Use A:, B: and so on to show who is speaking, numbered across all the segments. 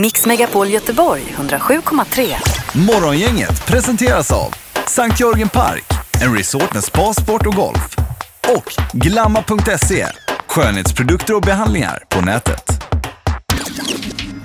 A: Mix Megapol Göteborg 107,3.
B: Morgongänget presenteras av Sankt Jörgen Park, en resort med spa, sport och golf. Och Glamma.se, skönhetsprodukter och behandlingar på nätet.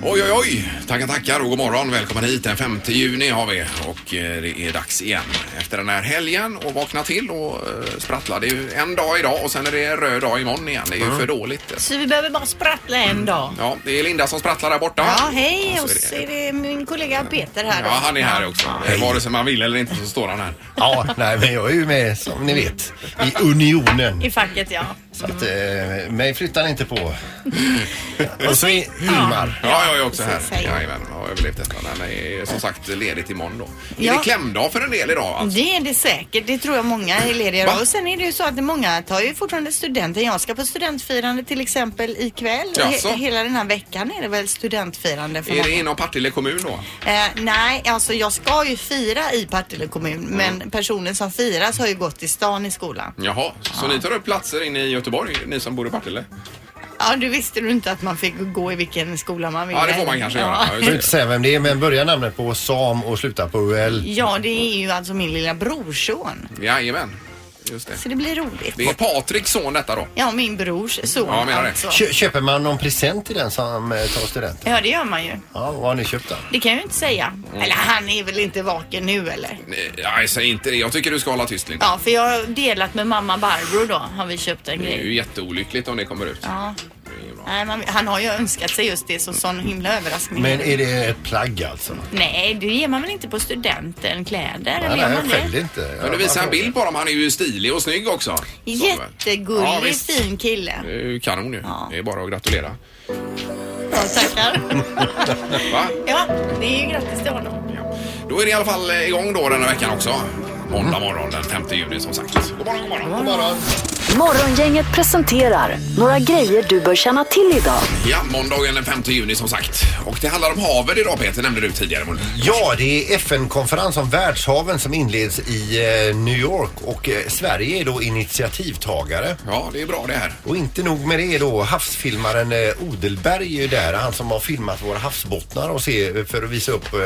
C: Oj, oj, oj! Tackar, tackar och god morgon. Välkommen hit. Den 5 juni har vi och eh, det är dags igen efter den här helgen och vakna till och eh, sprattla. Det är ju en dag idag och sen är det en röd dag imorgon igen. Det är ju för dåligt.
D: Så vi behöver bara sprattla en dag.
C: Ja, det är Linda som sprattlar där borta.
D: Ja, hej
C: så
D: och så är det min kollega Peter här.
C: Ja, han är här också. Vare sig man vill eller inte så står han här.
E: Ja, nej, men jag är ju med som ni vet i unionen.
D: I facket ja.
E: Så att, eh, mig flyttar ni inte på. Och så i- Ingmar.
C: Ja, jag är också här.
D: precis, hej.
C: Jajamän, jag har överlevt detta. Den är som sagt ledigt imorgon då. Är
D: Ja.
C: det klämdag för en del idag? Alltså?
D: Det är det säkert, det tror jag många är lediga
C: Va?
D: Och sen är det ju så att många tar ju fortfarande studenten. Jag ska på studentfirande till exempel ikväll.
C: Jaså?
D: He- hela den här veckan är det väl studentfirande för
C: Är det
D: många.
C: inom Partille kommun då?
D: Eh, nej, alltså jag ska ju fira i Partille kommun men personen som firas har ju gått i stan i skolan.
C: Jaha, så ni tar upp platser inne i Göteborg, ni som bor i Partille?
D: Ja, du visste du inte att man fick gå i vilken skola man ville?
C: Ja, det får man kanske göra. Ja,
E: Jag vill
C: just
E: inte säga vem det är men börjar namnet på Sam och slutar på UL.
D: Ja, det är ju alltså min lilla brorson.
C: det. Jajamän, just det.
D: Så det blir roligt.
C: Det är Patriks son detta då.
D: Ja, min brors son
C: Ja, jag menar det.
D: alltså.
E: Kö- Köper man någon present till den som eh, tar studenten?
D: Ja, det gör man ju.
E: Ja, vad har ni köpt då?
D: Det kan jag ju inte säga.
C: Mm.
D: Eller han är väl inte vaken nu eller?
C: Nej, Nej, säg inte det. Jag tycker du ska hålla tyst Linda.
D: Ja, för jag har delat med mamma Barbro då. Har vi köpt en
C: Det är
D: grej.
C: ju jätteolyckligt om det kommer ut.
D: Ja.
C: Det är ju bra.
D: Nej, man, han har ju önskat sig just det som sån himla överraskning.
E: Men är det ett plagg alltså?
D: Nej, det ger man väl inte på studenten kläder? eller
E: Nej, nej,
D: gör man
E: jag
D: det?
E: skällde inte. Jag
C: Men du
E: bara
C: visar en
E: frågar.
C: bild på dem. Han är ju stilig och snygg också. Så, väl?
D: Jättegullig,
C: Ja, visst.
D: fin kille.
C: Det är ju kanon ju.
D: Ja.
C: Det är bara att gratulera.
D: Ja, tackar.
C: Va?
D: ja, det är ju grattis till honom.
C: Ja. Då är det i alla fall eh, igång då den här veckan också.
D: Mm.
C: Måndag morgon den 5 juni som sagt. God morgon, god morgon. God morgon.
A: Morgongänget presenterar några grejer du bör känna till idag.
C: Ja, måndagen den 5 juni som sagt. Och det handlar om havet idag Peter, nämnde du tidigare. Molin.
E: Ja, det är FN-konferens om världshaven som inleds i eh, New York och eh, Sverige är då initiativtagare.
C: Ja, det är bra det här.
E: Och inte nog med det då, havsfilmaren eh, Odelberg är ju där, han som har filmat våra havsbottnar och se, för att visa upp eh,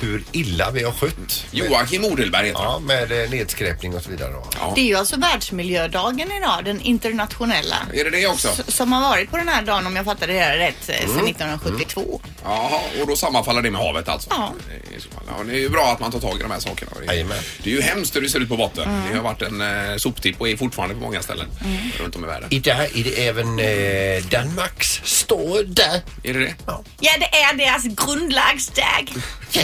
E: hur illa vi har skött.
C: Joakim Odelberg heter han.
E: Ja, med eh, nedskräpning och så vidare. Då.
C: Ja.
D: Det är ju alltså världsmiljödagen idag, den internationella.
C: Är det det också? Mm.
D: S- Som har varit på den här dagen, om jag fattade det här rätt, eh, sedan 1972.
C: Jaha, och då sammanfaller det med havet alltså?
D: Ja.
C: I så fall. Ja, det är ju bra att man tar tag i de här sakerna. Det är,
E: Jajamän.
C: det är ju hemskt hur det ser ut på botten.
D: Mm.
C: Det har varit en eh, soptipp och är fortfarande på många ställen runt om i världen.
E: I där är det även eh, Danmarks stad.
C: Är det det?
E: Ja.
D: Ja, det är deras grundlagsdag.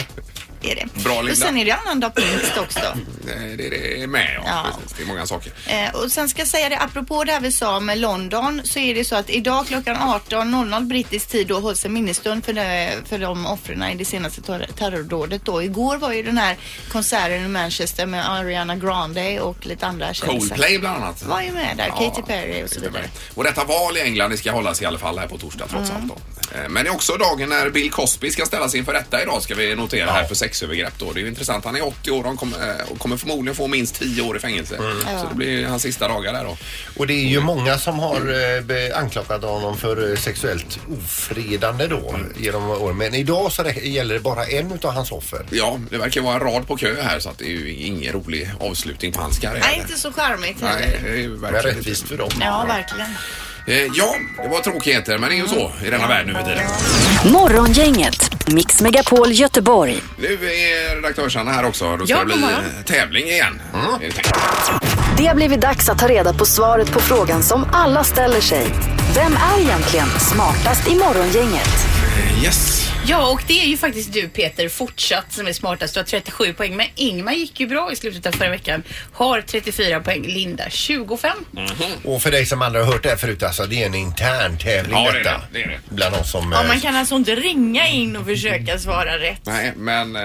D: är det.
C: Bra, Linda.
D: Och sen är det annandag pingst också.
C: Eh, Det är det med ja.
D: Ja.
C: Precis. Det är många saker.
D: Eh, och sen ska jag säga det, apropå det här vi sa med London, så är det så att idag klockan 18.00 brittisk tid då hålls en minnesstund för, det, för de offren i det senaste ter- terrordådet då. Igår var ju den här konserten i Manchester med Ariana Grande och lite andra
C: Coldplay bland annat.
D: Var ju med där, Katy Perry och så
C: Katy Perry.
D: vidare. Mm.
C: Och detta val i England det ska hållas i alla fall här på torsdag trots allt. Då. Eh, Men det är också dagen när Bill Cosby ska ställas inför rätta idag ska vi notera här för sexövergrepp då. Det är ju intressant. Han är 80 år och kommer, eh, och kommer förmodligen få minst 10 år i fängelse.
D: Mm.
C: Så det blir hans sista dagar där då.
E: Och det är ju många som har eh, be- anklagat honom för eh, sexuellt ofredande då genom åren. Men idag så det, gäller det bara en utav hans offer.
C: Ja, det verkar vara en rad på kö här så att det är ju ingen rolig avslutning på hans karriär.
D: Nej, inte så charmigt
C: Nej,
D: heller.
C: det är ju
E: Men
C: verkligen
E: rättvist
C: inte.
E: för dem.
D: Ja, verkligen.
C: Eh, Ja, det var tråkigheter men det är ju så i denna värld nu för tiden.
A: Morgongänget, Mix Megapol Göteborg.
C: Nu är redaktörsarna här också. Då ska
D: Ja,
C: det bli
D: god morgon.
C: eh, tävling igen.
E: Mm.
C: Är det tänkt.
A: Det har blivit dags att ta reda på svaret på frågan som alla ställer sig. Vem är egentligen smartast i Morgongänget?
C: Eh, Yes.
F: Ja, och det är ju faktiskt du Peter fortsatt som är smartast. Du har 37 poäng. Men Ingmar gick ju bra i slutet av förra veckan. Har 34 poäng. Linda 25.
E: Och för dig som aldrig har hört det här förut, alltså det är en intern tävling
C: Ja, det är
E: detta.
C: det, det är det.
E: Bland oss som...
D: Ja,
E: eh,
D: man kan alltså inte ringa in och försöka svara rätt.
C: Nej, men eh,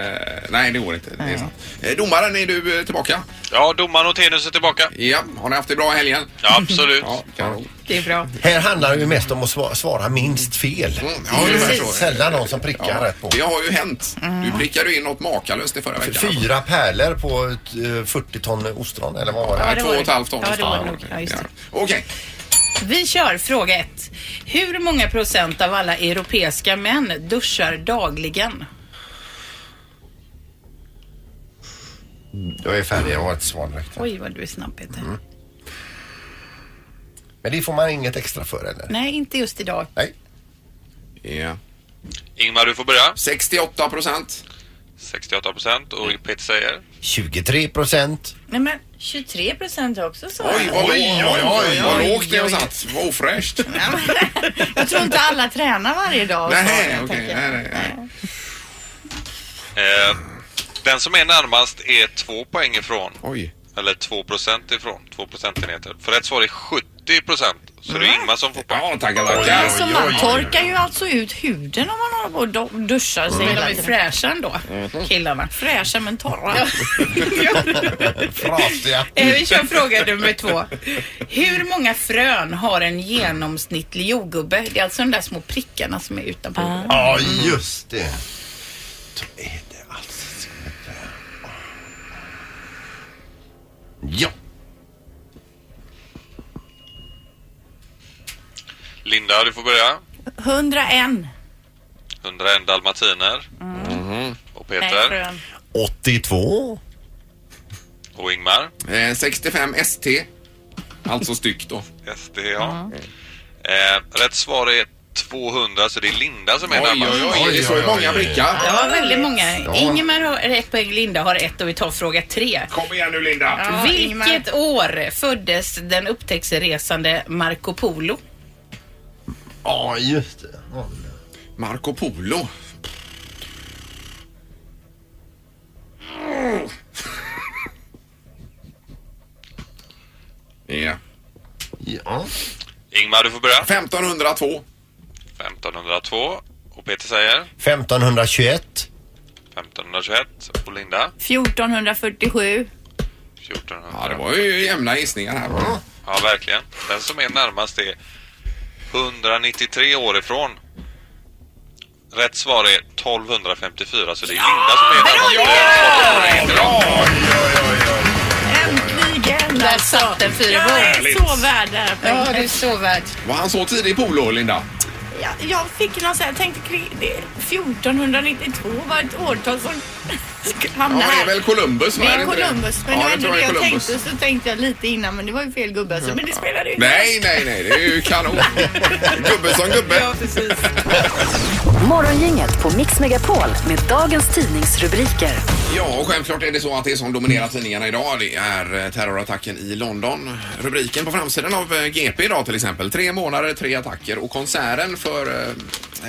C: nej, det går inte. Det är sant. Eh, Domaren, är du eh, tillbaka?
G: Ja, domaren och Tenus är tillbaka.
C: Ja, har ni haft det bra i helgen?
G: Ja, absolut.
C: Ja, kanon.
F: Det är bra.
E: Här handlar det ju mest om att sva- svara minst fel.
C: Mm, ja, ungefär så.
E: Sällan någon som prickar
C: Ja,
E: rätt på.
C: det har ju hänt. Du
F: Mm.
C: prickade ju in något makalöst i förra veckan.
E: Fyra pärlor på ett, eh, 40 ton ostron eller vad var det?
C: Nej,
F: det
C: två
F: var
C: och
F: det.
C: ett halvt ton.
F: Ja, det var det
C: Ja,
F: nog. Ja, just det.
C: Okej.
F: Vi kör fråga ett. Hur många procent av alla europeiska män duschar dagligen?
E: Jag är färdig, jag har ett svar direkt.
F: Oj, vad du är snabb Peter.
C: Mm.
E: Men det får man inget extra för eller?
F: Nej, inte just idag.
E: Nej.
C: Ja.
G: Ingmar, du får börja.
C: 68 procent.
G: 68 procent och Peter säger
E: 23 procent.
F: Nej, men 23 procent också så.
C: Oj, vad, oj, oj, oj, vad
F: oj,
C: lågt det har
F: oj.
C: satt. Vad ofräscht.
D: Jag tror inte alla tränar varje dag. och så,
C: Nej,
D: jag
C: okej.
D: tänker.
C: Nej, nej, nej.
G: eh, Den som är närmast är två poäng ifrån.
C: Oj.
G: Eller 2 procent ifrån. 2 procentenheter. För rätt svar är 70 procent. Så det är Ingmar som får poäng.
C: Ja, tackar, tackar.
D: Alltså man torkar ju alltså ut huden om man håller på och do- duschar sig
F: Men
D: hela
F: de är
D: tiden.
F: fräscha ändå, killarna.
D: Fräscha men torra.
E: Frasiga.
F: Eh, Vi kör fråga nummer två. Hur många frön har en genomsnittlig jordgubbe? Det är alltså de där små prickarna som är utanpå. jorden.
E: Ja, just det. Så är det alltså. Ja.
G: Linda, du får börja.
D: 101.
G: 101 dalmatiner.
C: Mm.
G: Och
F: Nej,
G: Peter.
F: frön.
E: 82.
G: Och Ingmar.
C: Eh, 65 ST. Alltså styck då.
G: SD,
C: Mm.
G: ja. Eh, rätt svar är 200 så det är Linda som är
C: Oj,
G: närmast.
C: oj, oj. Det är så många
F: Det
C: prickar.
F: var väldigt många. Ingemar har ett poäng, Linda har ett och vi tar fråga tre.
C: Kom igen nu Linda.
D: Ja, Ingemar.
F: Vilket år föddes den upptäcktsresande Marco Polo?
E: Ja, just det. Ja.
C: Marco Polo. Ja.
E: Ja.
G: Ingmar, du får börja.
C: 1502.
G: 1502 och Peter säger
E: 1521.
G: 1521 och Linda
D: 1447.
G: 1400.
C: Ja, det var ju jämna gissningar här.
G: Ja, verkligen. Den som är närmast är 193 år ifrån. Rätt svar är 1254 så det är Linda som är närmast. Rätt svar är
C: Bra!
D: Äntligen!
F: Där satt den fyra gånger.
D: Jag är så värd det här
F: Ja,
D: pengarna.
F: du är så värd.
C: Var han så tidig i polo, Linda?
D: Jag, jag fick någon sån här, jag tänkte kring det. 1492 var ett årtal som
C: Ja,
D: hamnade
C: men det är
D: här.
C: väl Columbus? va?
D: Det
C: Är
D: är
C: inte det?
D: Columbus, men
C: Ja,
D: det var
C: det tror
D: ändå det
C: jag är
D: jag
C: Columbus.
D: tänkte. Så tänkte jag lite innan, men det var ju fel gubbe alltså. Men det spelar ju ingen
C: Nej, nej, nej. Det är ju kanon. gubbe som gubbe.
F: precis.
A: Morgongänget på Mix Megapol med dagens tidningsrubriker.
C: Ja, och självklart är det så att det som dominerar tidningarna idag det är eh, terrorattacken i London. Rubriken på framsidan av eh, GP idag till exempel. Tre månader, tre attacker och konserten för eh,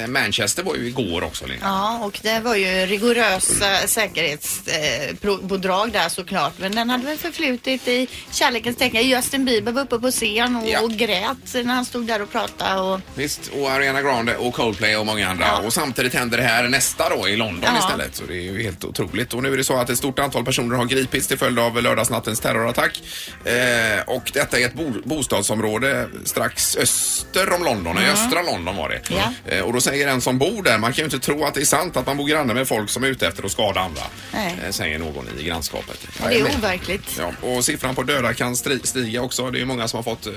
C: Manchester var ju igår också, Linda.
D: Ja, och det var ju eh, rigorösa säkerhetspådrag eh, där såklart. Men den hade väl förflutit i kärlekens tecken. Justin Bieber var uppe på scen och,
C: Ja.
D: och grät när han stod där och pratade. Och,
C: Visst, och Ariana Grande och Coldplay och många andra. Och samtidigt händer det här nästa då i London
D: Ja.
C: istället. Så det är ju helt otroligt. Och nu är det så att ett stort antal personer har gripits till följd av lördagsnattens terrorattack. Eh, och detta är ett bo bostadsområde strax öster om London, i östra London var det.
D: Mm. Ja.
C: Eh, och då säger en som bor där, man kan ju inte tro att det är sant att man bor granne med folk som är ute efter att skada andra.
D: Nej.
C: Eh, säger någon i grannskapet.
D: och det är overkligt.
C: Ja, och siffran på döda kan stri- stiga också. Det är många som har fått eh,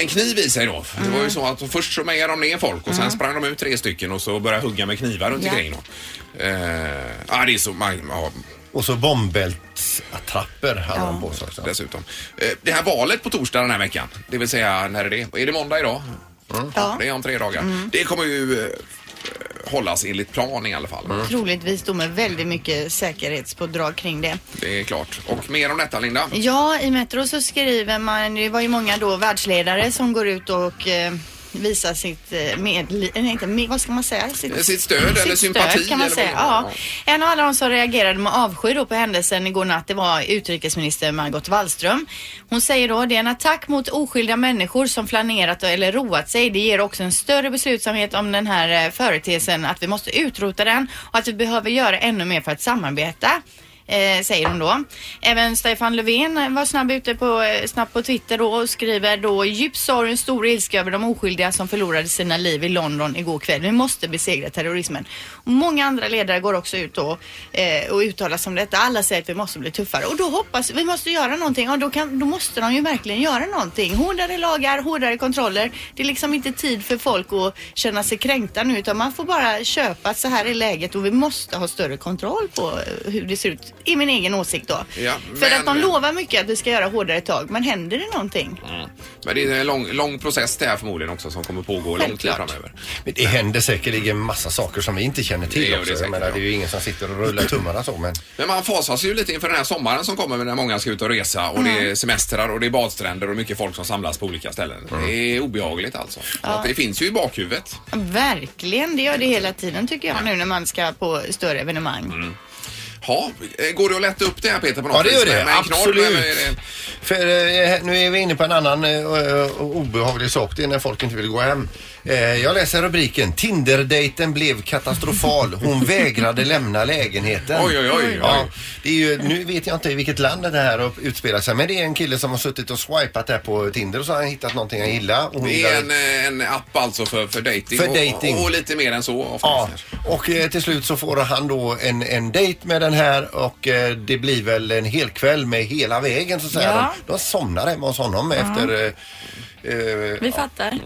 C: en kniv i sig då. För Det var
D: Mm.
C: ju så att först så mejade de ner folk och sen sprang de ut tre stycken och så började hugga med knivar runt
D: Ja.
C: omkring dem. Eh, ja, det är så man, ja,
E: Och så bombbältsattrapper hade de på sig också.
C: dessutom. Eh, det här valet på torsdag den här veckan, det vill säga när är det? Är det måndag idag?
D: Mm. Ja. Mm.
C: Det är om tre dagar. Det kommer ju eh, hållas enligt plan i alla fall.
D: Mm. Troligtvis då med väldigt mycket säkerhetspådrag kring det.
C: Det är klart. Och mer om detta Linda.
D: Ja, i Metro så skriver man, det var ju många då världsledare som går ut och eh, visar sitt eh, medli- nej, inte, med, vad ska man säga?
C: Eh, sitt stöd eller sympati
D: kan man
C: eller
D: säga.
C: vad det var.
D: Ja. En av alla de som reagerade med avsky då på händelsen igår natt, det var utrikesminister Margot Wallström. Hon säger då, det är en attack mot oskyldiga människor som flanerat eller roat sig. Det ger också en större beslutsamhet om den här eh, företeelsen, att vi måste utrota den och att vi behöver göra ännu mer för att samarbeta. eh, säger hon då. Även Stefan Löfven var snabb ute på, eh, snabbt på Twitter då och skriver då djup sorg och stor ilska över de oskyldiga som förlorade sina liv i London igår kväll. Vi måste besegra terrorismen. Och många andra ledare går också ut och, eh, och uttalar sig om detta. Alla säger att vi måste bli tuffare och då hoppas vi måste göra någonting. Och då, kan, då måste de ju verkligen göra någonting. Hårdare lagar, hårdare kontroller. Det är liksom inte tid för folk att känna sig kränkta nu utan man får bara köpa att så här är läget och vi måste ha större kontroll på eh, hur det ser ut. I min egen åsikt då.
C: Ja,
D: för
C: men-
D: att de lovar mycket att vi ska göra hårdare tag men händer det någonting?
C: Mm. Men det är en lång, lång process det här förmodligen också som kommer pågå lång tid
D: Självklart.
C: framöver.
E: Men det händer säkerligen massa saker som vi inte känner
C: Det
E: till
C: gör
E: också.
C: det
E: Det,
C: säkert,
E: jag menar,
C: ja.
E: det är ju ingen som sitter och rullar tummarna så men
C: Men man fasas ju lite inför den här sommaren som kommer när många ska ut och resa och det är semestrar och det är badstränder och mycket folk som samlas på olika ställen. Det är obehagligt alltså. Att det finns ju i bakhuvudet.
D: Verkligen, det gör det hela tiden tycker jag nu när man ska på större evenemang.
C: Mm. Ja, eh, går det att lätta upp det här Peter på något
E: Ja, det gör
C: vis?
E: det.
C: Med- med en knorr,
E: Absolut.
C: eller är det-
E: För eh, nu är vi inne på en annan eh, eh, obehaglig sak. Det är när folk inte vill gå hem. Eh, jag läser rubriken. Tinderdejten blev katastrofal. Hon vägrade lämna lägenheten.
C: Oj, oj, oj, oj.
E: Ja, det är ju, nu vet jag inte i vilket land det här utspelar sig. Men det är en kille som har suttit och swipat där på Tinder och så har han hittat någonting han gillar. Och hon
C: Det
E: gillar
C: är en, eh, en app alltså för, för dating,
E: För dating.
C: Och, och lite mer än så oftast.
E: Ja,
C: kanske.
E: och eh, till slut så får han då en, en dejt med den här och eh, det blir väl en hel kväll med hela vägen så att säga.
D: Ja.
E: De, de somnar hemma hos honom efter eh, eh,
H: Vi fattar.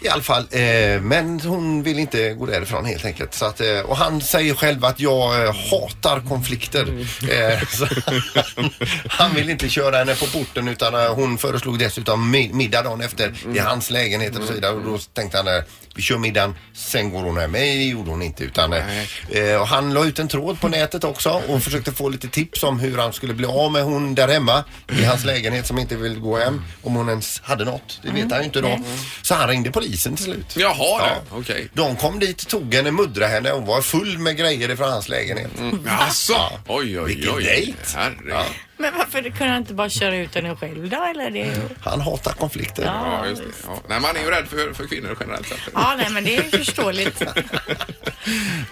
E: i alla fall, eh, men hon vill inte gå därifrån helt enkelt. Så att, eh, och han säger själv att jag eh, hatar konflikter.
H: Mm.
E: Eh, så han, han vill inte köra henne på porten utan eh, hon föreslog dessutom mi- middag dagen efter
H: Mm.
E: i hans lägenhet och så vidare. Och då tänkte han eh, vi kör middagen, sen går hon hem. Men det gjorde hon inte. Utan, eh, eh, och han la ut en tråd på nätet också och försökte få lite tips om hur han skulle bli av med hon där hemma i hans lägenhet som inte vill gå hem. Om hon ens hade något. Det vet han ju inte då. Så han ringde polisen till slut.
C: Jaha, du. Okej.
E: De kom dit, tog henne, muddrade henne och var full med grejer ifrån hans lägenhet.
C: Mm. Jaså? Oj, oj, oj.
E: Vilken dejt.
C: Herregud.
E: Ja.
H: Men varför kunde han inte bara köra ut henne själv då? Eller det...
E: Han hatar konflikter.
C: Ja, just det. Ja. Nej, man är ju rädd för, för kvinnor generellt sett.
H: Ja, nej, men det är förståeligt.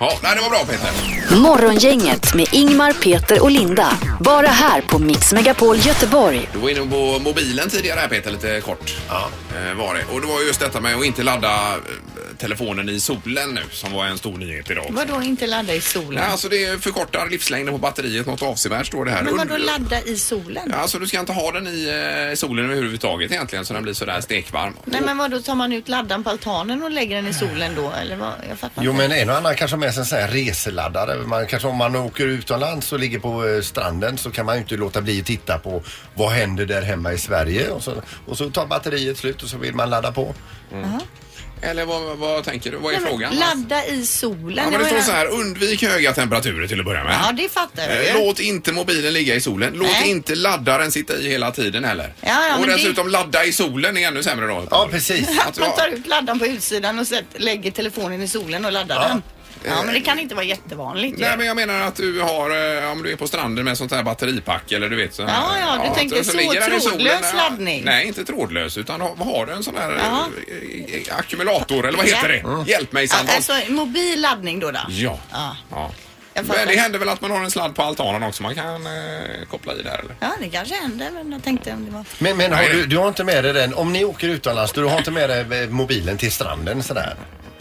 C: Ja, nej, det var bra Peter.
A: Morgongänget med Ingmar, Peter och Linda. Bara här på Mix Megapol Göteborg.
C: Du var inne på mobilen tidigare här Peter, lite kort.
E: Ja.
C: Eh, var det. Och det var just detta med att inte ladda eh, telefonen i solen nu som var en stor nyhet idag.
D: Vadå inte ladda i solen?
C: Nej, alltså det förkortar livslängden på batteriet något avsevärt står det här.
D: Men vadå
C: Und-
D: ladda i solen?
C: Ja, Alltså du ska inte ha den i eh, solen överhuvudtaget egentligen så den blir sådär stekvarm.
D: Nej men vadå tar man ut laddan på altanen och lägger den i solen då eller vad? Jag fattar
E: Jo
D: inte.
E: men en och annan kanske har med sig en sån här reseladdare. Man, kanske om man åker utomlands och ligger på eh, stranden så kan man ju inte låta bli att titta på vad händer där hemma i Sverige. Och så, och så tar batteriet slut och så vill man ladda på.
C: Eller vad, vad tänker du? Vad är
D: Nej, men
C: frågan?
D: Ladda i solen?
C: Ja, men
D: Jag
C: det står
D: menar-
C: så här, undvik höga temperaturer till att börja med.
D: Ja det fattar jag
C: Eh,
D: ju.
C: Låt inte mobilen ligga i solen. Låt
D: Nej.
C: inte laddaren sitta i hela tiden heller.
D: Ja, ja,
C: och
D: men det-
C: dessutom ladda i solen är ännu sämre då.
E: Ja precis.
C: Att
D: Att man
C: jag-
D: tar ut laddan på utsidan och sätt, lägger telefonen i solen och laddar den. Ja men det kan inte vara jättevanligt ju.
C: Eh. Nej, men jag menar att du har, eh, om du är på stranden med sånt här batteripack eller du vet så här,
D: Ja, ja, du tänker så
C: ligger den i solen.
D: trådlös laddning.
C: Nej, inte trådlös utan har, har du en sån här eh,
D: Ja.
C: eh, ackumulator eller vad heter
D: Ja.
E: Mm.
C: det? Hjälp mig
D: Ja,
C: Sandholt.
D: Alltså mobil laddning då då?
C: Ja.
D: Ja.
C: ja.
D: Jag fattar.
C: Men det händer väl att man har en sladd på altanen också man kan eh, koppla i där eller?
D: Ja det kanske händer men jag tänkte om det var...
E: Men, men har
C: Nej.
E: du, du har inte med dig den, om ni åker utomlands, du har inte med dig eh, mobilen till stranden sådär?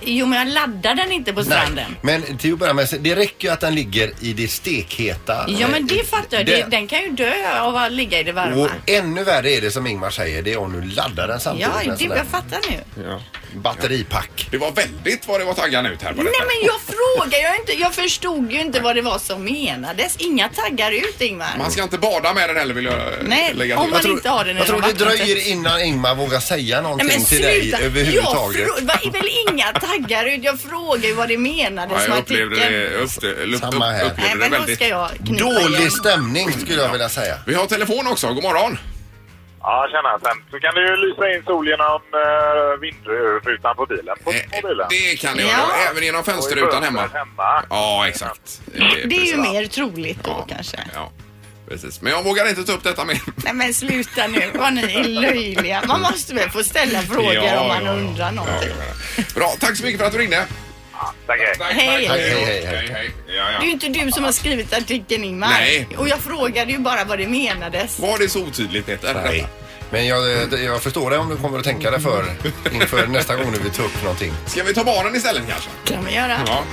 H: Jo, men jag laddar den inte på stranden.
E: Men till att börja med, så- det räcker ju att den ligger i det stekheta.
H: Ja, men det
E: eh,
H: fattar jag.
E: det-
H: Det, den kan ju dö av att ligga i det varma.
E: Och ännu värre är det som Ingmar säger, det är om du laddar den samtidigt
D: Ja
E: med en
D: det,
E: sån där
D: jag fattar nu.
E: batteripack.
C: Det var väldigt vad det var taggarna ut här på
H: Nej
C: detta.
H: men jag frågar jag inte. Jag förstod ju inte vad det var som menades. Inga taggar ut Ingmar.
C: Man ska inte bada med den heller vill jag eh,
H: Nej,
C: lägga
H: om man
C: Jag tror-
H: inte har den i
E: Jag tror det
H: någon
E: dröjer
H: vattentäkt.
E: innan Ingmar vågar säga någonting till dig överhuvudtaget.
H: Jag frå- det är väl inga taggar ut? Jag frågar ju vad det menades
C: Ja,
H: med
C: jag upplevde
H: artikeln.
C: det, jag upplevde, upp,
E: Samma här.
C: upplevde
H: Nej
C: det
H: men då
C: väldigt.
H: ska jag knipa igen.
E: Dålig stämning skulle jag vilja säga.
C: Vi har telefon också, god morgon.
I: Ja, tjena. Sen så kan du ju lysa in sol genom uh, vindrutan på bilen. På,
C: Eh,
I: på bilen.
C: Det kan jag
D: Ja.
C: göra, även genom
I: Och i
C: fönsterrutan
I: fönstret
C: hemma.
I: hemma.
C: Ja, exakt.
D: Det är
C: precis.
D: ju mer troligt då
C: Ja.
D: kanske.
C: Ja, precis. Men jag vågar inte ta upp detta mer.
D: Nej men sluta nu, vad ni är löjliga. Man måste väl få ställa frågor
C: Ja,
D: om man
C: ja, ja.
D: undrar någonting.
C: Bra, tack så mycket för att du ringde.
I: Tackar.
C: Tack,
H: Hej.
C: tack.
E: Hej, hej, hej.
C: Hej, hej. Ja,
H: Det är ju
C: ja.
H: inte du som har skrivit artikeln Ingmar.
C: Nej.
H: Och jag frågade ju bara vad det menades.
C: Var det så otydligt Peter?
E: Nej. Men jag, eh, jag förstår dig om du kommer att tänka dig för inför nästa gång du vill ta upp någonting.
C: Ska vi ta barnen istället kanske?
H: kan man göra.
C: Ja.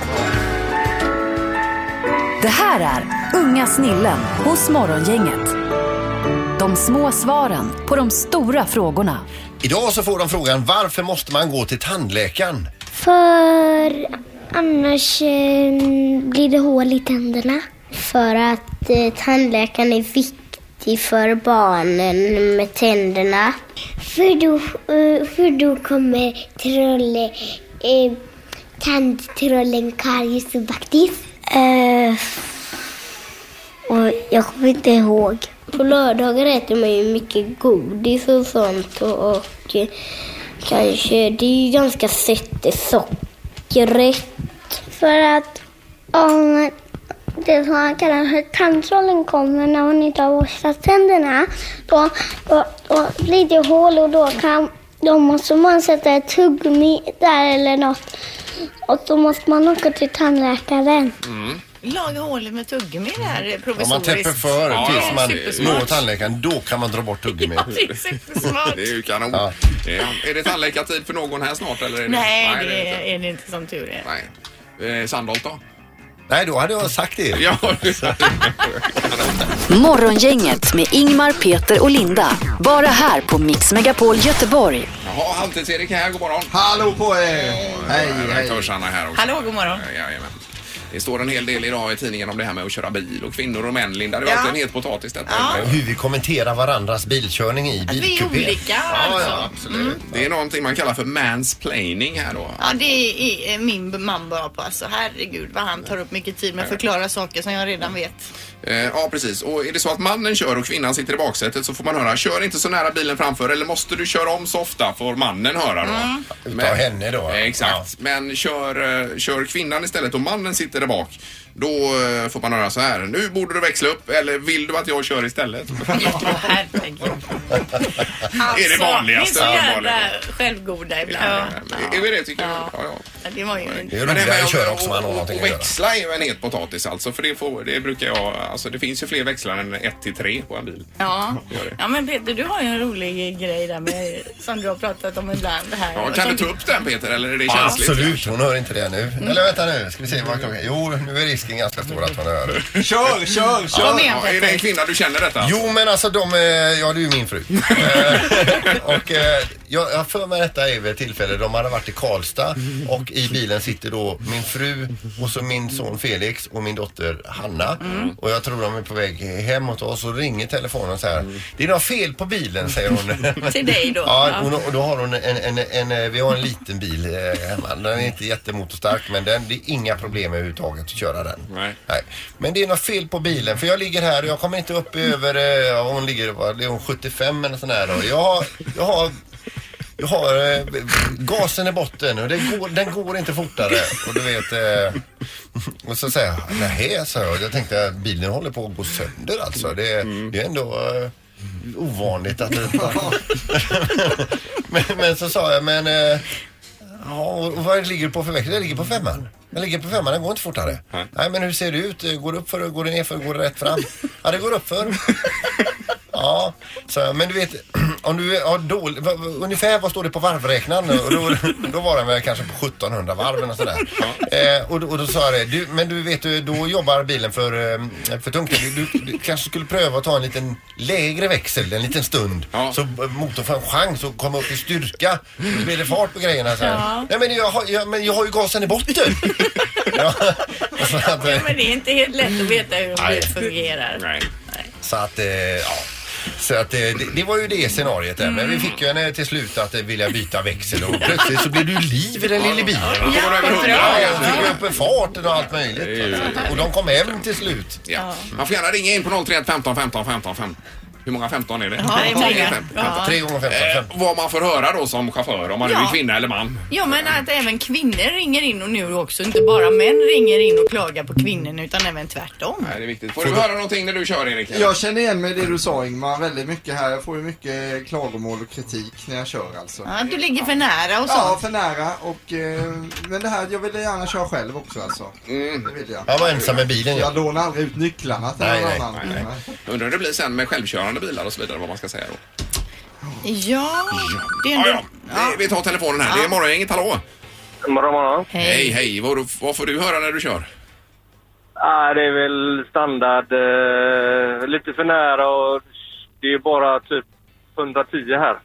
A: Det här är Unga snillen hos Morgongänget. De små svaren på de stora frågorna.
E: Idag så får de frågan varför måste man gå till tandläkaren?
J: För annars eh, blir det hål i tänderna. För att eh, tandläkaren är viktig för barnen med tänderna. För då, eh, för då kommer trolle, eh, tandtrollen karies och baktis. och jag kommer inte ihåg. På lördagar äter man ju mycket godis och sånt och, och eh, kanske, det är ju ganska sött i sockret. För att om det som han kallar för tandtrollen kommer när hon inte har borstat tänderna, då, då, då blir det hål och då, kan, då måste man sätta ett tuggummi där eller något. Och då måste man åka till tandläkaren.
D: Laga hålet med tuggummi där eh, provisoriskt.
E: Om Mm. man täpper för
C: Ja,
E: tills
C: ja,
E: man
C: supersmart.
E: når tandläkaren, då kan man dra bort tuggummi.
D: Det är supersmart.
C: Det är ju kanon.
E: Ja.
C: Eh, Är det tandläkartid för någon här snart eller? Är det...
D: Nej,
C: det är det inte.
D: det är det inte som tur är.
C: Nej. Eh, Sandholt då?
E: Nej, då hade jag sagt det.
C: Ja,
A: Morgongänget med Ingmar, Peter och Linda. Bara här på Mix Megapol Göteborg.
C: Jaha, Halvtids-Erik här, god morgon.
K: Hallå på er! Hej, hej.
C: Redaktörs-Anna här också.
F: Hallå, god morgon.
C: Eh, Jajamän. Det står en hel del idag i tidningen om det här med att köra bil och kvinnor och män. Linda, det var
D: Ja.
C: alltid en het potatis detta. Mm.
E: Hur vi kommenterar varandras bilkörning i
D: Vi är
E: bilkupé.
D: olika
E: Ja,
D: alltså.
E: ja.
C: Absolut. Mm. Det är någonting man kallar för mansplaining här då.
D: Ja, det är eh, min man bra på alltså. Herregud vad han tar upp mycket tid med att förklara saker som jag redan vet.
C: Eh, ja, precis. Och är det så att mannen kör och kvinnan sitter i baksätet så får man höra kör inte så nära bilen framför eller måste du köra om så ofta får mannen höra då.
D: Mm.
E: Utav henne då.
C: Eh, Exakt. Men kör, eh, kör kvinnan istället och mannen sitter där bak. Då eh, får man höra så här. Nu borde du växla upp eller vill du att jag kör istället?
D: Alltså,
F: Herregud.
C: är det vanligaste.
F: Ni är så
C: uppenbarligen.
F: jävla självgoda ibland.
C: Är vi det tycker du? Ja, ja.
D: Ja, Det var ju
E: Det är
C: Men
E: roligare
C: med
E: att köra också om
C: och-
E: man har
C: och-
E: någonting
C: och
E: att göra.
C: växla är ju en het potatis alltså. För det, får, det brukar jag, alltså det finns ju fler växlar än 1 till 3 på en bil.
F: Ja.
C: Gör det.
F: ja, men Peter, du har ju en rolig grej där med, som du har pratat om ibland här.
C: Ja, kan du ta upp den Peter eller är det känsligt?
E: Absolut, hon hör inte det nu. Eller vänta nu, ska vi se vad klockan är. Jo, nu är risken ganska stor att hon hör det.
K: Kör, kör, kör!
F: Kom igen
C: Ja, är det en
F: Peter.
C: kvinna du känner detta?
E: Jo men alltså de, eh, ja det är ju min fru. Eh, och eh, jag jag har för mig detta är vid ett tillfälle, de hade varit i Karlstad och i bilen sitter då min fru och så min son Felix och min dotter Hanna.
F: Mm.
E: Och jag tror de är på väg hemåt och så ringer telefonen så här. Det är något fel på bilen säger hon.
F: Mm. Till dig då.
E: Ja, hon, och då har hon en, en, en, eh, vi har en liten bil eh, hemma. Den är inte jättemotorstark men den, det är inga problem överhuvudtaget att köra den.
C: Nej.
E: Men det är något fel på bilen för jag ligger här och jag kommer inte upp över, eh, ja, hon ligger, vad, är hon 75 eller sån här då. Jag har, jag har jag har eh, gasen i botten och det går, den går inte fortare. Och du vet... Eh, och så säger jag, nej, sa jag. Jag tänkte att bilen håller på att gå sönder alltså. Det, det är ändå eh, ovanligt att... men, men så sa jag, men... Eh, ja, och vad ligger det på för växel? Det ligger på femman. Den ligger på femman, den går inte fortare. Nej, men hur ser det ut? Eh, Går det upp för, går det ner för, går det rätt fram? Ja, det går upp för. Ja, så, jag, men du vet, om du har dålig, va- va- ungefär vad står det på varvräknaren? Och Då, då var den väl kanske på 1700 varv eller sådär. Eh, och, då- och då sa jag det, du, men du vet, du, då jobbar bilen för, eh, för tungt. Du, du, du kanske skulle pröva att ta en liten lägre växel en liten stund.
C: Ja.
E: Så eh, motorn får en chans att komma upp i styrka. Då blir det fart på grejerna. Så här. Nej, men jag, har, jag, men jag har ju gasen i botten. ja, så att, eh,
F: Men det är inte helt lätt att veta hur en
E: Nej.
F: bil fungerar.
C: Nej.
E: så att, eh, ja. Så att eh, det, det var ju det scenariet där. Men vi fick ju henne till slut att eh, vilja byta växel och plötsligt så blev det ju liv i den lilla bilen.
C: Då går det över
E: Ja,
C: hundra.
E: jag fick upp en fart och allt möjligt. Och de kom hem till slut.
C: Ja. Man får gärna ringa in på 031 15 15 15 15. Hur många 15 är det?
D: Ja, det är många.
E: Ja. Tre gånger 15.
C: Eh, vad man får höra då som chaufför om man nu
D: Ja.
C: är kvinna eller man.
D: Ja men att även kvinnor ringer in och nu också inte bara män ringer in och klagar på kvinnorna utan även tvärtom.
C: Nej, det är viktigt. Får du höra någonting när du kör Erik?
K: Jag känner igen mig i det du sa Ingmar väldigt mycket här. Jag får ju mycket klagomål och kritik när jag kör alltså.
D: Ja, du ligger för nära och
K: Ja,
D: sånt.
K: för nära och... Eh, men det här, jag ville gärna köra själv också alltså.
C: Mm.
K: Det vill jag.
E: Han var ensam med bilen ja.
K: Jag lånar aldrig ut nycklarna till
E: Nej,
K: någon
E: nej,
K: annan.
C: nej, Jag Undrar hur det blir sen med självkörande bilar och så vidare vad man ska säga då.
D: Ja, det är
C: Ja,
D: ändå...
C: ja. Vi- Vi tar telefonen här. Det är Morgongänget, hallå!
I: Morgon, morgon.
C: Hej, hej. Vad, vad får du höra när du kör?
I: Ah, det är väl standard. Eh, lite för nära och det är bara typ 110 här.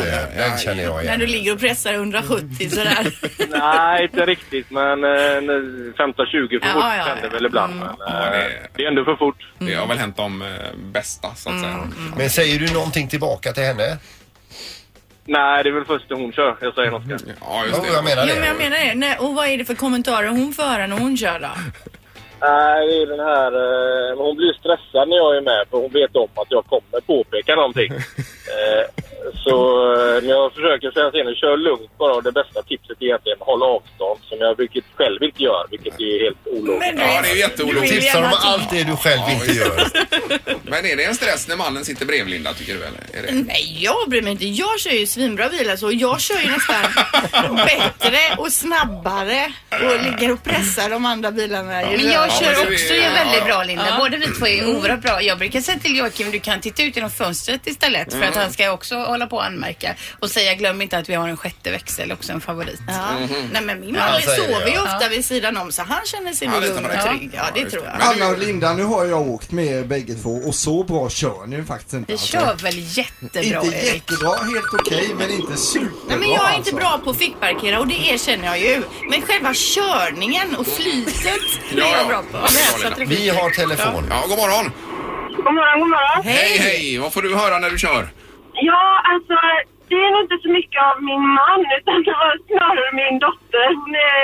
E: det. Den känner jag
D: När
E: igen.
D: du ligger och pressar 170 sådär.
I: Nej, inte riktigt, men eh, 15-20 för fort
D: Ja, ja, ja.
I: händer väl ibland. Men, eh,
C: det-
I: det är ändå för fort.
C: Det har väl hänt de eh, bästa så att säga.
E: Men säger du någonting tillbaka till henne?
I: Nej, det är väl först när hon kör jag säger något. kanske.
C: Ja, just
E: Jo,
C: det.
E: jag menar
D: Jo men
E: det.
D: jag menar det. Nej, och vad är det för kommentarer hon får höra när hon kör då?
I: Nej, det är den här... Eh, hon blir stressad när jag är med för hon vet om att jag kommer påpeka någonting. eh, så eh, när jag försöker säga till henne, kör lugnt bara. Och det bästa tipset är egentligen håll avstånd, som jag vilket själv inte gör, vilket är helt ologiskt.
D: Men du,
C: Ja, det är ju
D: du vill
C: jätteologiskt.
E: Tipsar om
D: gärna att-
E: allt det du själv inte gör.
C: Men är det en stress när mannen sitter brevlinda tycker du eller? Är det?
D: Nej, jag bryr mig inte. Jag kör ju svinbra bil alltså. Och Jag kör ju nästan bättre och snabbare och ligger och pressar de andra bilarna. ju
F: Men jag
D: rörelse.
F: kör
C: men det är- ja,
F: också ju
C: ja.
F: väldigt bra Linda. Båda vi två är oerhört bra. Jag brukar säga till Joakim, du kan titta ut genom fönstret istället för att han ska också hålla på och anmärka och säga glöm inte att vi har en sjätte växel också, en favorit.
D: Ja. Nej men min
E: Ja,
D: man
E: säger det,
D: sover ju
E: ja.
D: ofta vid sidan om så han känner sig
C: Ja,
D: nog
C: lite
D: lugn
C: på
D: och
C: det.
D: trygg.
C: Ja,
D: Ja det
C: just
D: tror
C: det.
D: jag.
C: Men-
K: Anna och Linda, nu har jag åkt med er bägge två och så bra kör ni faktiskt inte.
F: Vi
K: alltså.
F: kör väl jättebra
K: Inte
F: Erik?
K: jättebra, helt okej, men inte superbra
D: Nej men jag är inte
K: alltså.
D: bra på att fickparkera och det erkänner jag ju. Men själva körningen och flytet är
C: Ja, ja.
D: jag bra på.
C: Ja, det är bra,
D: Läsa
C: Lena.
D: trafik.
E: Vi har telefon.
C: Ja, god morgon!
I: God morgon, god morgon.
C: Hej, hej! Vad får du höra när du kör?
I: Ja, alltså det är nog inte så mycket av min man utan det var snarare min dotter. Hon är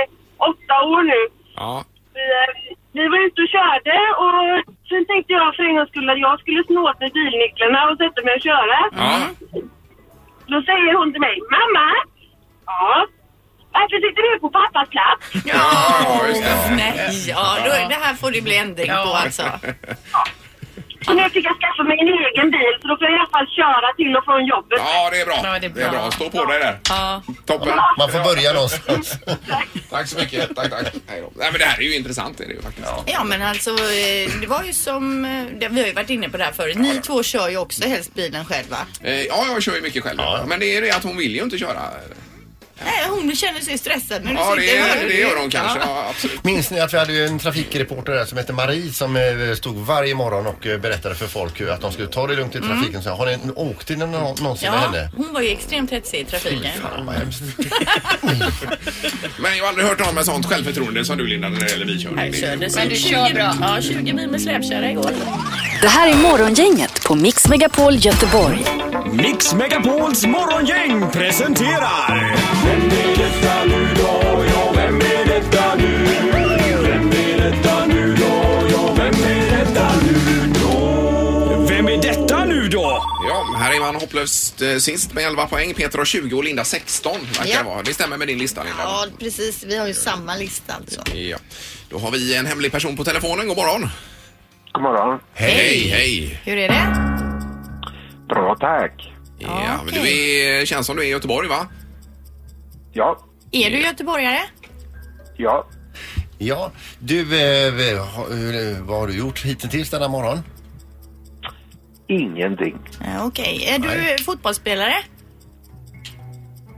I: åtta år nu.
C: Ja.
I: Vi, eh, vi var ute och körde och sen tänkte jag för en gångs skull att jag skulle snå åt mig bilnycklarna och sätta mig och köra.
C: Ja.
I: Då säger hon till mig, mamma! Ja? Varför sitter du på pappas plats?
C: Ja, just det.
D: Nej, ja, då, det här får det bli ändring på alltså.
I: Så nu fick jag skaffa mig en egen bil så då får jag i alla fall köra till och från jobbet.
C: Ja, det är bra.
F: Ja,
C: det,
F: det
C: är
F: är
C: bra.
F: bra.
C: Stå på dig där.
D: Ja.
C: Toppen.
E: Man får börja någonstans.
C: Tack så mycket. Tack, tack. Hej då. Nej, men det här är ju intressant. Är det ju faktiskt. Ja.
D: Ja men alltså eh, det var ju som, eh, det- vi har ju varit inne på det här förut. Ni två kör ju också helst bilen själva.
C: Eh, ja, jag kör ju mycket själv. Men det är det att hon vill ju inte köra.
D: Nej hon känner sig stressad när du
C: Ja,
D: sitter
C: det,
D: här.
C: det gör hon kanske. Ja, absolut.
E: Minns ni att vi hade ju en trafikreporter där som hette Marie som eh, stod varje morgon och eh, berättade för folk hur att de skulle ta det lugnt i trafiken. Så har ni åkt in någonsin med
D: Mm. Ja,
E: henne?
D: hon var ju extremt hetsig i trafiken.
E: Fan vad hemskt.
C: Men jag har aldrig hört någon med sånt självförtroende som du, Linda, när det gäller bilkörning. Mm. Det är-
F: Men du kör bra.
D: Ja, 20 mil med släpkärra igår.
A: Det här är Morgongänget på Mix Megapol Göteborg.
K: Mix Megapols morgongäng presenterar... Vem är detta nu då?
C: Ja, här är man hopplöst eh, sist med 11 poäng. Peter har 20 och Linda 16. Verkar
D: Ja.
C: vara. Det stämmer med din lista, Linda.
D: Ja, precis. Vi har ju samma lista alltså.
C: Ja. Då har vi en hemlig person på telefonen. God morgon!
I: God morgon.
C: Hej, hej!
D: Hur är det?
I: Bra tack.
C: Ja, men du är, känns som du är i Göteborg, va?
I: Ja,
D: Är du göteborgare?
I: ja.
E: Ja, du, eh, ha, hur- vad har du gjort hittills denna morgon?
I: Ingenting.
D: Ja, Eh, Okej. Är du fotbollsspelare?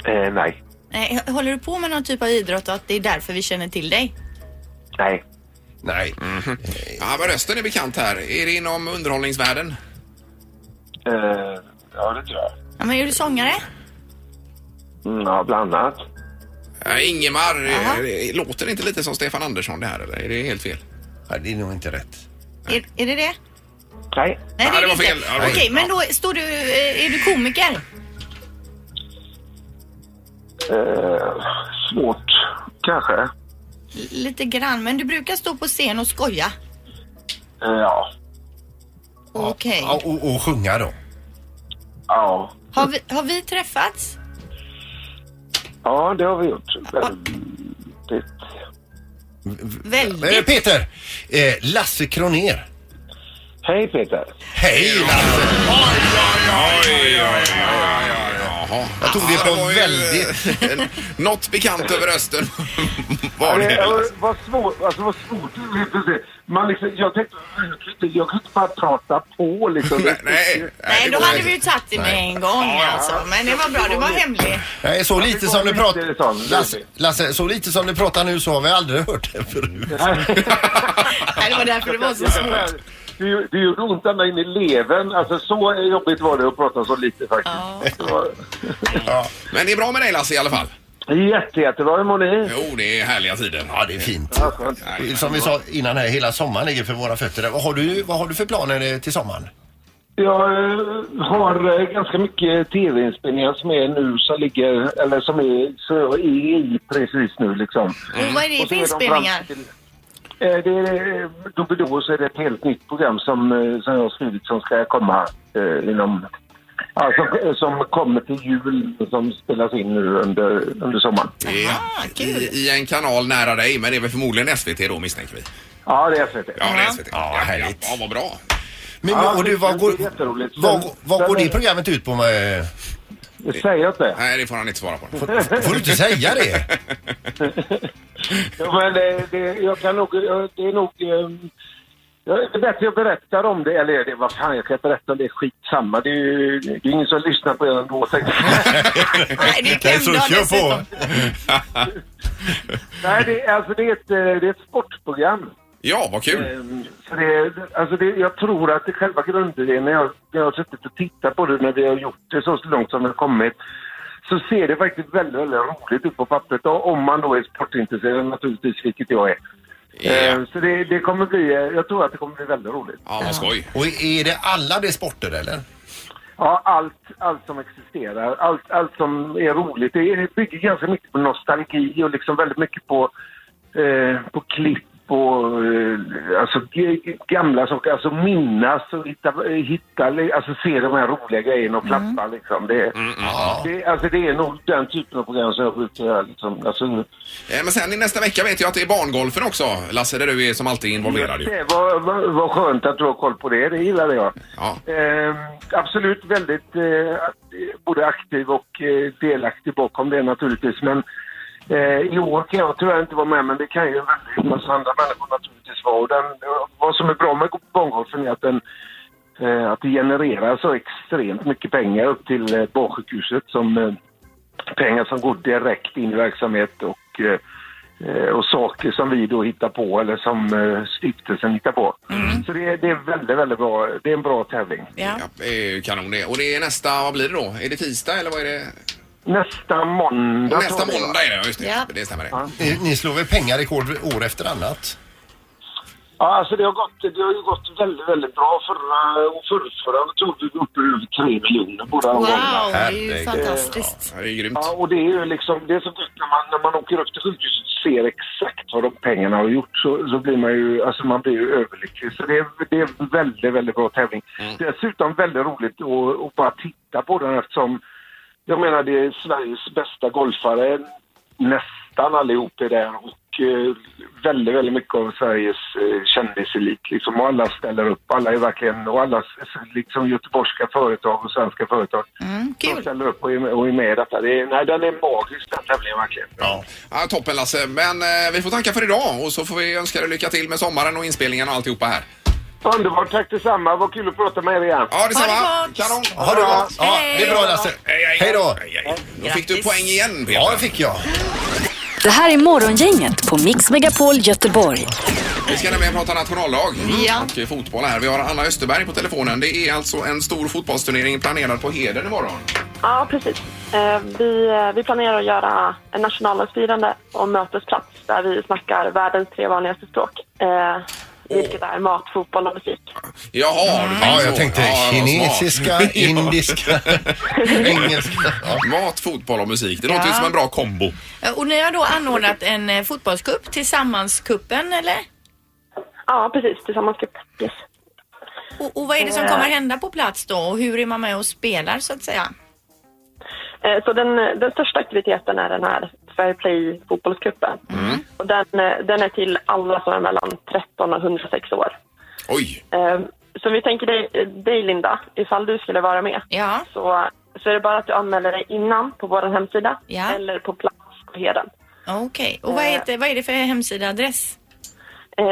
I: Eh, nej.
D: Nej, Håller du på med någon typ av idrott och att det är därför vi känner till dig?
I: Nej.
E: Nej.
C: Ja, men rösten är bekant här. Är det inom underhållningsvärlden?
I: Eh, ja, det tror jag.
D: Ja, men är du sångare?
I: Mm, ja, bland annat.
C: Ja, Ingemar, eh, det- låter det inte lite som Stefan Andersson det här eller? Är det helt fel?
E: Nej, det är nog inte rätt.
D: Är, är det det?
I: Nej.
D: Nej,
C: Ja,
D: är
C: det var
D: inte.
C: fel. Ja, det var
D: Okej,
C: fel.
D: men då står du, eh, är du komiker?
I: Eh, svårt, kanske.
D: L- Lite grann, men du brukar stå på scen och skoja.
I: Eh, ja.
D: Okej.
E: Ja, och, och sjunga då.
I: Ja.
D: Har, vi, har vi träffats?
C: Eh,
I: Ja, det har vi gjort. Väldigt.
E: Eh,
D: Väldigt.
E: Peter! Eh, Lasse Kroner.
I: Hej Peter!
E: Hej Lasse!
C: Jaha.
E: Jag tog det på
C: var ju,
E: väldigt...
C: eh, Något bekant över rösten var det.
I: Eh,
C: Lasse.
I: vad svårt, alltså vad svårt det blev precis. Man liksom, jag tänkte, jag kan inte- jag kan inte bara prata på liksom.
C: Nej, nej,
D: Nej,
C: det
D: då
C: går
D: hade
C: inte.
D: vi ju tagit det med en gång alltså. Men det var bra, det var hemligt.
E: Nej, så lite som du
I: lite sån,
E: pratar...
I: lite.
E: Lasse, Lasse, så lite som du pratar nu så har vi aldrig hört det förut.
D: Nej, det var därför det var så svårt.
I: Det, det gjorde ont ända in i levern. Alltså så jobbigt var det att prata så lite faktiskt.
D: Ja.
I: Det var,
C: Men det är bra med dig Lasse i alla fall.
I: jätte, jättebra. Hur mår ni?
C: Jo, det är härliga tider.
E: Ja, det är fint.
I: Ja, skönt.
E: Som vi sa innan här, hela sommaren ligger för våra fötter. Vad har du, vad har du för planer eh, till sommaren?
I: Jag eh, har eh, ganska mycket tv-inspelningar som är nu som ligger, eller som är, så jag är i precis nu liksom.
D: Och vad är det
I: Och så
D: för
I: är de fram
D: inspelningar?
I: till- Eh, Det är, då och då så är det ett helt nytt program som, eh, som jag har skrivit som ska komma eh, inom... Alltså, som kommer till jul som spelas in nu under, under sommaren.
C: Det är I, I en kanal nära dig, men det är väl förmodligen SVT då misstänker vi.
I: Ja, det är SVT.
C: Ja, det är SVT.
E: Ja, härligt.
C: Ja, vad bra.
E: Men,
I: Ja,
E: och du,
I: det-
E: vad
I: det
E: går,
I: är jätteroligt.
E: vad,
I: Men-
E: vad går
I: men-
E: det programmet ut på? eh?
I: Det säger jag inte.
C: Nej, det får han inte svara på.
E: Får du inte säga det?
I: Ja, men eh, det, jag kan nog, jag- det är nog... eh, ja, Det är bättre jag berättar om det, eller det, vad fan jag kan berätta om det, skitsamma. Det är ju det är ingen som lyssnar på er ändå. tänkte jag.
D: Nej, det är
E: Nej, så
D: klämdag
E: kör på.
D: dessutom.
I: Nej, det, är- alltså det är ett, eh, det är ett sportprogram.
C: Ja, vad kul.
I: Ehm, Så det, alltså det, jag tror att det själva grundidén, när jag, när jag har suttit och tittat på det, när vi har gjort det så långt som det har kommit, så ser det faktiskt väldigt, väldigt roligt ut på pappret. Och om man då är sportintresserad naturligtvis, vilket jag är. Ehm, Så det, det kommer bli, eh, jag tror att det kommer bli väldigt roligt.
C: Ja, vad skoj.
E: Och är det alla de sporter eller?
I: Ja, allt, allt som existerar, allt, allt som är roligt. Det är- det bygger ganska mycket på nostalgi och liksom väldigt mycket på, eh, på klipp och eh, alltså, g- g- gamla saker. Alltså minnas och hitta, hitta alltså, se de här roliga grejerna och klappa liksom. Det,
C: Mm.
I: det, alltså, det är nog den typen av program som jag brukar göra. Liksom. Alltså,
C: Eh, Men sen i nästa vecka vet jag att det är barngolfen också, Lasse, där du är som alltid involverad ju.
I: Det var, var, var skönt att du har koll på det, det gillade jag.
C: Ja.
I: Ehm, absolut väldigt eh, både aktiv och eh, delaktig bakom det naturligtvis. Men eh, i år kan jag tyvärr inte vara med, men det kan ju en väldigt massa andra människor naturligtvis vara. Och den, vad som är bra med bangolfen är att den eh, att det genererar så extremt mycket pengar upp till eh, barnsjukhuset som eh, pengar som går direkt in i verksamhet och, eh, eh, och saker som vi då hittar på eller som eh, stiftelsen hittar på. Så det, är- det är väldigt, väldigt bra. Det är en bra tävling.
D: Mm. Ja.
C: Ja, det är ju kanon det. Och det är nästa, vad blir det då? Är det tisdag eller vad är det?
I: Nästa måndag.
C: nästa
I: tror jag det var.
C: måndag är det, ja, just det.
D: Ja.
C: Det stämmer det.
E: Ni, Eh, ni slår väl pengarekord år efter annat?
I: Ja, alltså det har gått, det har ju gått väldigt, väldigt bra. Förra och förrförra tog vi uppe över tre miljoner båda
D: Wow,
I: gångerna.
D: det är ju
E: Herregud.
D: fantastiskt.
C: Ja, Det är ju grymt.
I: Ja, och det är ju liksom, det är så gott när man, när man åker upp till sjukhuset och ser exakt vad de pengarna har gjort så, så blir man ju, alltså man blir ju överlycklig. Så det är, det är en väldigt, väldigt bra tävling. Dessutom väldigt roligt att, att bara titta på den eftersom jag menar det är Sveriges bästa golfare, nästan allihop är där och eh, väldigt, väldigt mycket av Sveriges eh, kändiselit liksom. Och alla ställer upp, alla är verkligen, och alla s- liksom göteborgska företag och svenska företag.
D: Mm,
I: De
D: kul.
I: ställer upp och är med, och är med i detta. Det är, nej, den är magisk den tävlingen verkligen.
E: Ja.
C: Ja, toppen Lasse, men eh, vi får tacka för idag och så får vi önska dig lycka till med sommaren och inspelningen och alltihopa här.
I: Underbart, tack detsamma. Vad kul att prata med er igen.
C: Ja,
D: Ha
C: detsamma!
D: det gott.
C: Kanon!
E: Ha det gott! Ja, det är bra Lasse. Hej då!
C: Hej, hej. Då fick du poäng igen Peter.
E: Ja, det fick jag.
A: Det här är Morgongänget på Mix Megapol Göteborg.
C: Vi ska nämligen prata nationallag
D: Mm. Ja.
C: och fotboll här. Vi har Anna Österberg på telefonen. Det är alltså en stor fotbollsturnering planerad på Heden imorgon.
L: Ja, precis. Eh, Vi, eh, vi planerar att göra en nationaldagsfirande och mötesplats där vi snackar världens tre vanligaste språk. Eh, vilket är mat, fotboll och musik.
C: Jaha, du
E: Ja,
C: så.
E: jag tänkte
C: Ja, vad
E: kinesiska,
C: smart. Ja.
E: indiska, engelska. Ja.
C: Mat, fotboll och musik. Det låter ju
D: Ja.
C: som en bra kombo.
D: Eh, Och ni har då anordnat en eh, fotbollscup, Tillsammanscupen eller?
L: Ja, precis. Tillsammans. Yes.
D: Och, och vad är det som kommer hända på plats då och hur är man med och spelar så att säga?
L: Eh, Så den, den största aktiviteten är den här Fair Play fotbollscupen. Och den, eh, den är till alla som är mellan 13 och 106 år. Eh,
C: Oj!
L: Så vi tänker dig, dig Linda, ifall du skulle vara med. Så, så är det bara att du anmäler dig innan på vår hemsida
D: Ja.
L: eller på plats på Heden.
D: Okej, och vad,
L: Eh.
D: heter, vad är det för hemsidaadress?
L: Eh,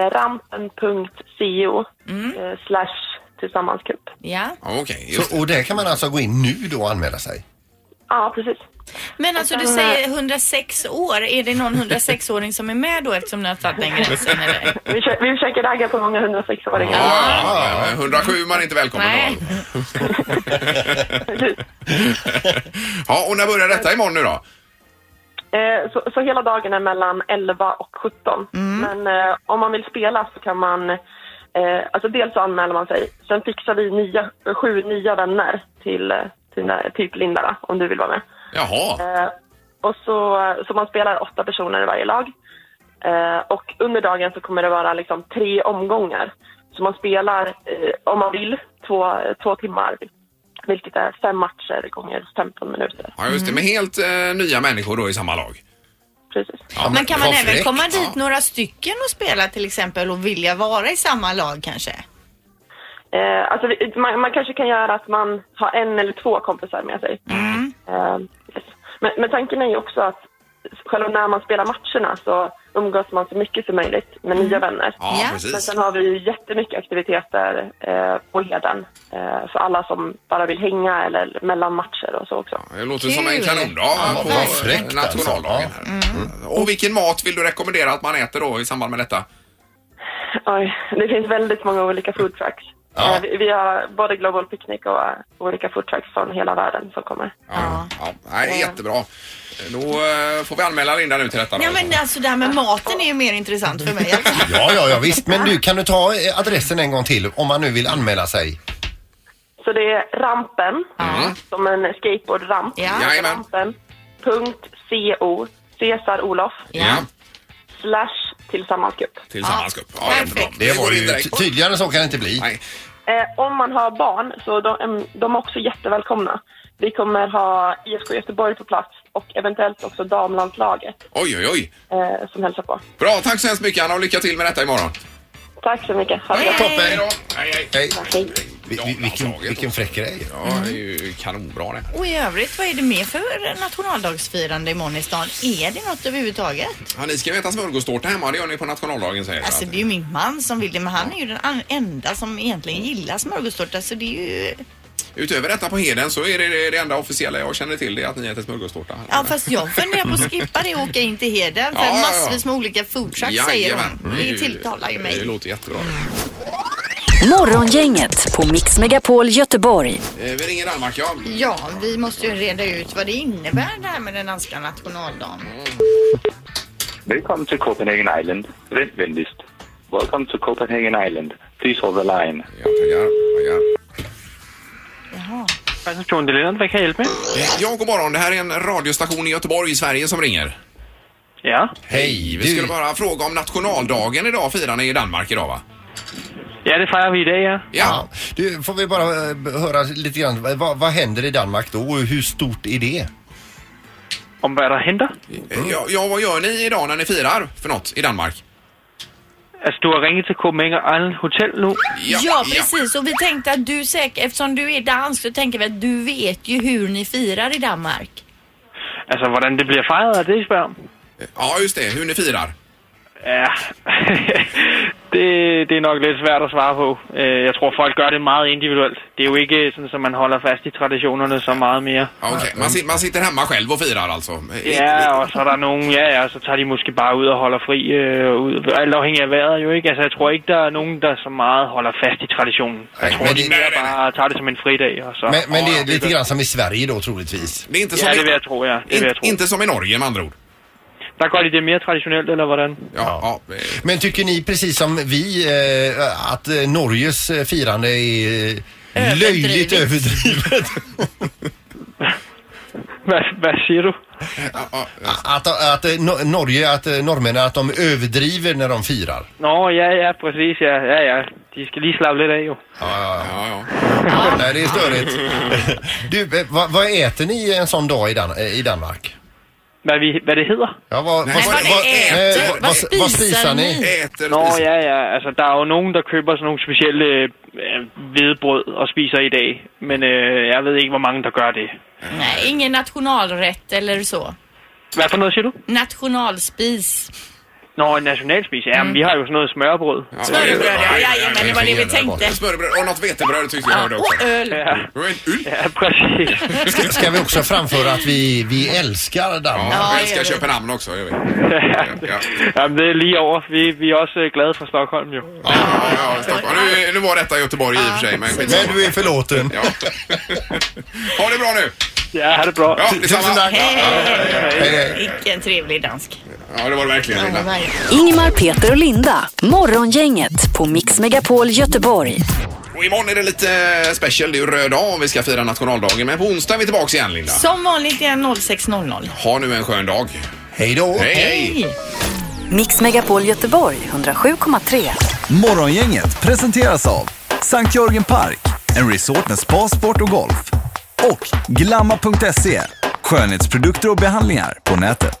L: eh, rampen.co eh, slash tillsammanscup.
D: Ja.
C: Okej,
E: Så, och där kan man alltså gå in nu då och anmäla sig?
L: Ja, precis.
D: Men alltså du
L: Utan,
D: säger 106 år, är det någon 106-åring som är med då eftersom ni har tagit den gränsen? Eller?
L: Vi, försöker- vi försöker ragga på många 106-åringar.
C: Ja, 107 är man inte välkommen
D: Nej.
C: Ja, och när börjar detta imorgon nu då?
L: Eh, Så, så hela dagen är mellan 11 och 17. Men eh, om man vill spela så kan man... Eh, alltså dels så anmäler man sig. Sen fixar vi nya, sju nya vänner till, eh, till, typ Linda då, om du vill vara med.
C: Jaha.
L: Eh, och så, så man spelar åtta personer i varje lag. Eh, och under dagen så kommer det vara liksom tre omgångar. Så man spelar, eh, om man vill, två, två timmar. Vilket är fem matcher gånger 15 minuter.
C: Ja, just det.
D: Mm.
C: Med helt eh, nya människor då i samma lag.
L: Precis.
C: Ja,
D: Men kan man
C: vad
D: även
C: fräckt.
D: komma dit några stycken och spela till exempel och vilja vara i samma lag kanske?
L: Eh, alltså, vi- man, man kanske kan göra att man har en eller två kompisar med sig.
C: Mm.
L: Eh, yes. men, men tanken är ju också att själva när man spelar matcherna så umgås man så mycket som möjligt med nya vänner.
C: Mm. Ja, Ja. precis.
L: Men sen har vi ju jättemycket aktiviteter eh, på leden eh, för alla som bara vill hänga eller mellan matcher och så också.
C: Det låter som en
D: Kul.
C: kanondag
E: Ja,
C: på
E: vad fräckt
C: eh, nationaldagen
E: alltså.
C: här. Och vilken mat vill du rekommendera att man äter då i samband med detta?
L: Oj, det finns väldigt många olika food trucks.
E: Ja.
L: Eh, vi, vi har både Global Picnic och eh, olika food trucks från hela världen som kommer.
C: Ja. Ja, nej, jättebra. Då eh, får vi anmäla Linda nu till detta. då.
D: Ja men alltså det här med maten är ju mer intressant för mig. Alltså.
E: Ja, ja, ja visst. Men du, kan du ta eh, adressen en gång till om man nu vill anmäla sig?
L: Så det är rampen, som en skateboardramp.
D: Ja.
C: Jajamän.
L: Rampen. Punkt CO, Cesar Olof,
C: Ja,
L: slash tillsammansgrupp.
C: tillsammans upp. Ja,
D: Perfekt.
C: jättebra.
E: Det
C: Vi går
E: var
C: in
E: ju
C: direkt.
E: ty- tydligare så kan det inte bli.
C: Nej.
L: Eh, om man har barn så de, em, de är också jättevälkomna. Vi kommer ha IFK Göteborg på plats och eventuellt också damlandslaget
C: Oj, oj, oj.
L: eh, som hälsar på.
C: Bra, tack så hemskt mycket Anna och lycka till med detta imorgon.
L: Tack så mycket. Ha det bra.
E: Toppen.
C: Hej då. Hej, hej.
E: Hej.
L: Hej.
E: Vi- vi- Vilken, vilken fräck grej.
C: Ja, det är
D: Mm.
C: ju kanonbra det här.
D: Och i övrigt, vad är det mer för nationaldagsfirande imorgon i stan? Är det något överhuvudtaget?
C: Ja, ni ska ju äta smörgåstårta hemma, det gör ni på nationaldagen säger jag.
D: Alltså det är ju min man som vill det men han är ju den an- enda som egentligen gillar smörgåstårta så det är ju...
C: Utöver detta på Heden så är det det enda officiella jag känner till det är att ni äter smörgåstårta.
D: Ja fast jag funderar på att skippa det och åka in till Heden för
C: Ja, ja, ja.
D: massvis med olika food trucks säger hon. Det tilltalar ju
C: Det
D: mig. Mm.
C: låter jättebra.
A: Morgongänget på Mix Megapol Göteborg.
C: Eh, Vi ringer Danmark, ja.
D: Ja, vi måste ju reda ut vad det innebär det här med den danska nationaldagen.
I: Välkommen till Copenhagen Island. Vänd vänligst. Welcome to Copenhagen Island. Please hold the line.
C: Ja, pengar, pengar.
D: Jaha.
I: Person till Lennart, vad kan jag hjälpa med?
C: Eh, Ja, god morgon. Det här är en radiostation i Göteborg i Sverige som ringer.
I: Ja.
E: Hej,
C: Vi skulle
E: du.
C: bara fråga om nationaldagen idag firar ni i Danmark idag va?
I: Ja, det fejrer vi i dag, ja.
E: Ja.
C: Ja.
E: Du, får vi bara eh, höra lite grann. Vad, vad- vad händer i Danmark då och hur stort är det?
I: Om vad der händer?
C: Eh, Ja, ja, vad gör ni idag när ni firar för något i Danmark?
I: Altså, du har ringet till Copenhagen Island Hotel nu.
D: Ja, precis och vi tänkte att du säkert, eftersom du är dansk så tänker vi att du vet ju hur ni firar i Danmark.
I: Altså, hvordan det bliver fejret, er det, I spørger om?
C: Ja, just det. Hur ni firar.
I: Ja, det, det er nok lidt svært at svare på. Øh, Jeg tror, folk gør det meget individuelt. Det er jo ikke sådan, at man holder fast i traditionerne så meget mere.
C: Ja, okay. man, sit- man sitter hemma själv och firar alltså? Eh,
I: Ja, og så er der nogen, ja, ja, så tager de måske bare ud og holder fri, øh, ud, alt afhængig af vejret jo, ikke? Altså, jeg tror ikke, der er nogen, der så meget holder fast i traditionen. Jeg
E: Nej,
I: tror,
E: men
I: de
E: det-
I: mere bare tager det som en fridag, og så...
E: Men, men det
C: ja,
E: är lite grann som i Sverige då troligtvis.
C: Det är inte som,
I: Ja,
C: i-
I: det vil jeg tro, ja. Det vil jeg
C: in,
I: tro.
C: inte som i Norge med andra ord.
I: Der går de det mere traditionelt, eller hvordan?
C: Ja, ja. eh,
E: Men tycker ni precis som vi eh, att eh, Norges eh, firande är eh, löjligt överdrivet?
I: Hvad, hvad siger du?
E: Att, att, eh, Nor- Norge, att eh, norrmännen, att de överdriver när de firar.
M: Ja, ja, ja, precis. Ja, ja, ja. De ska lige slappe lite av ju.
E: Ja, ja, ja. Nej, det är störigt. Du, eh, vad, vad äter ni en sån dag i, Dan eh, i Danmark?
M: Vad, vi, vad det heter?
E: Ja, vad,
M: Nej,
E: vad, eh,
M: vad ni äter?
E: nej,
M: Vad
E: spisar ni?
M: Nå, ja, ja. Altså, der er jo nogen, der køber sådan nogle specielle øh, hvedebrød og spiser i dag. Men øh, jag vet ikke, hvor mange, der gør det.
H: Nej, ingen nationalrätt eller så.
M: Hvad for noget siger du?
H: Nationalspis.
M: Nå, en nationalspis. Ja,
E: Mm.
M: men vi har jo sådan noget smørbrød.
H: Smørrebrød, ja, ja, ja, men det var det vi tänkte.
C: Smörrebröd och något vetebröd tyckte jag hörde också.
H: Och öl.
M: Ja, præcis.
E: Ska, ska vi också framföra att vi, vi älskar Danmark?
C: Ja, vi älskar Köpenhamn också. Gör vi.
M: Jamen, det er lige over. Vi, vi er også øh, glade for Stockholm, jo.
C: Ja, Stockholm. Nu, nu var detta Göteborg i och för sig, men
E: Men
C: skitsamma.
E: du är förlåten.
C: Ja. Ha det bra nu!
M: Ja, ha det bra.
C: Ja, detsamma.
E: Tusen tack.
H: Vilken trevlig dansk.
C: Ja, det var det verkligen. Linda.
A: Ingmar, Peter och Linda. Morgongänget på Mix Megapol Göteborg.
C: Och imorgon är det lite special. Det är ju röd dag om vi ska fira nationaldagen. Men på onsdag är vi tillbaka igen, Linda.
H: Som vanligt igen 06.00.
C: Ha nu en skön dag.
E: Hej då!
C: Hej, hej.
A: Mix Megapol Göteborg 107,3.
B: Morgongänget presenteras av Sankt Jörgen Park, en resort med spa, sport och golf. Och Glamma.se, skönhetsprodukter och behandlingar på nätet.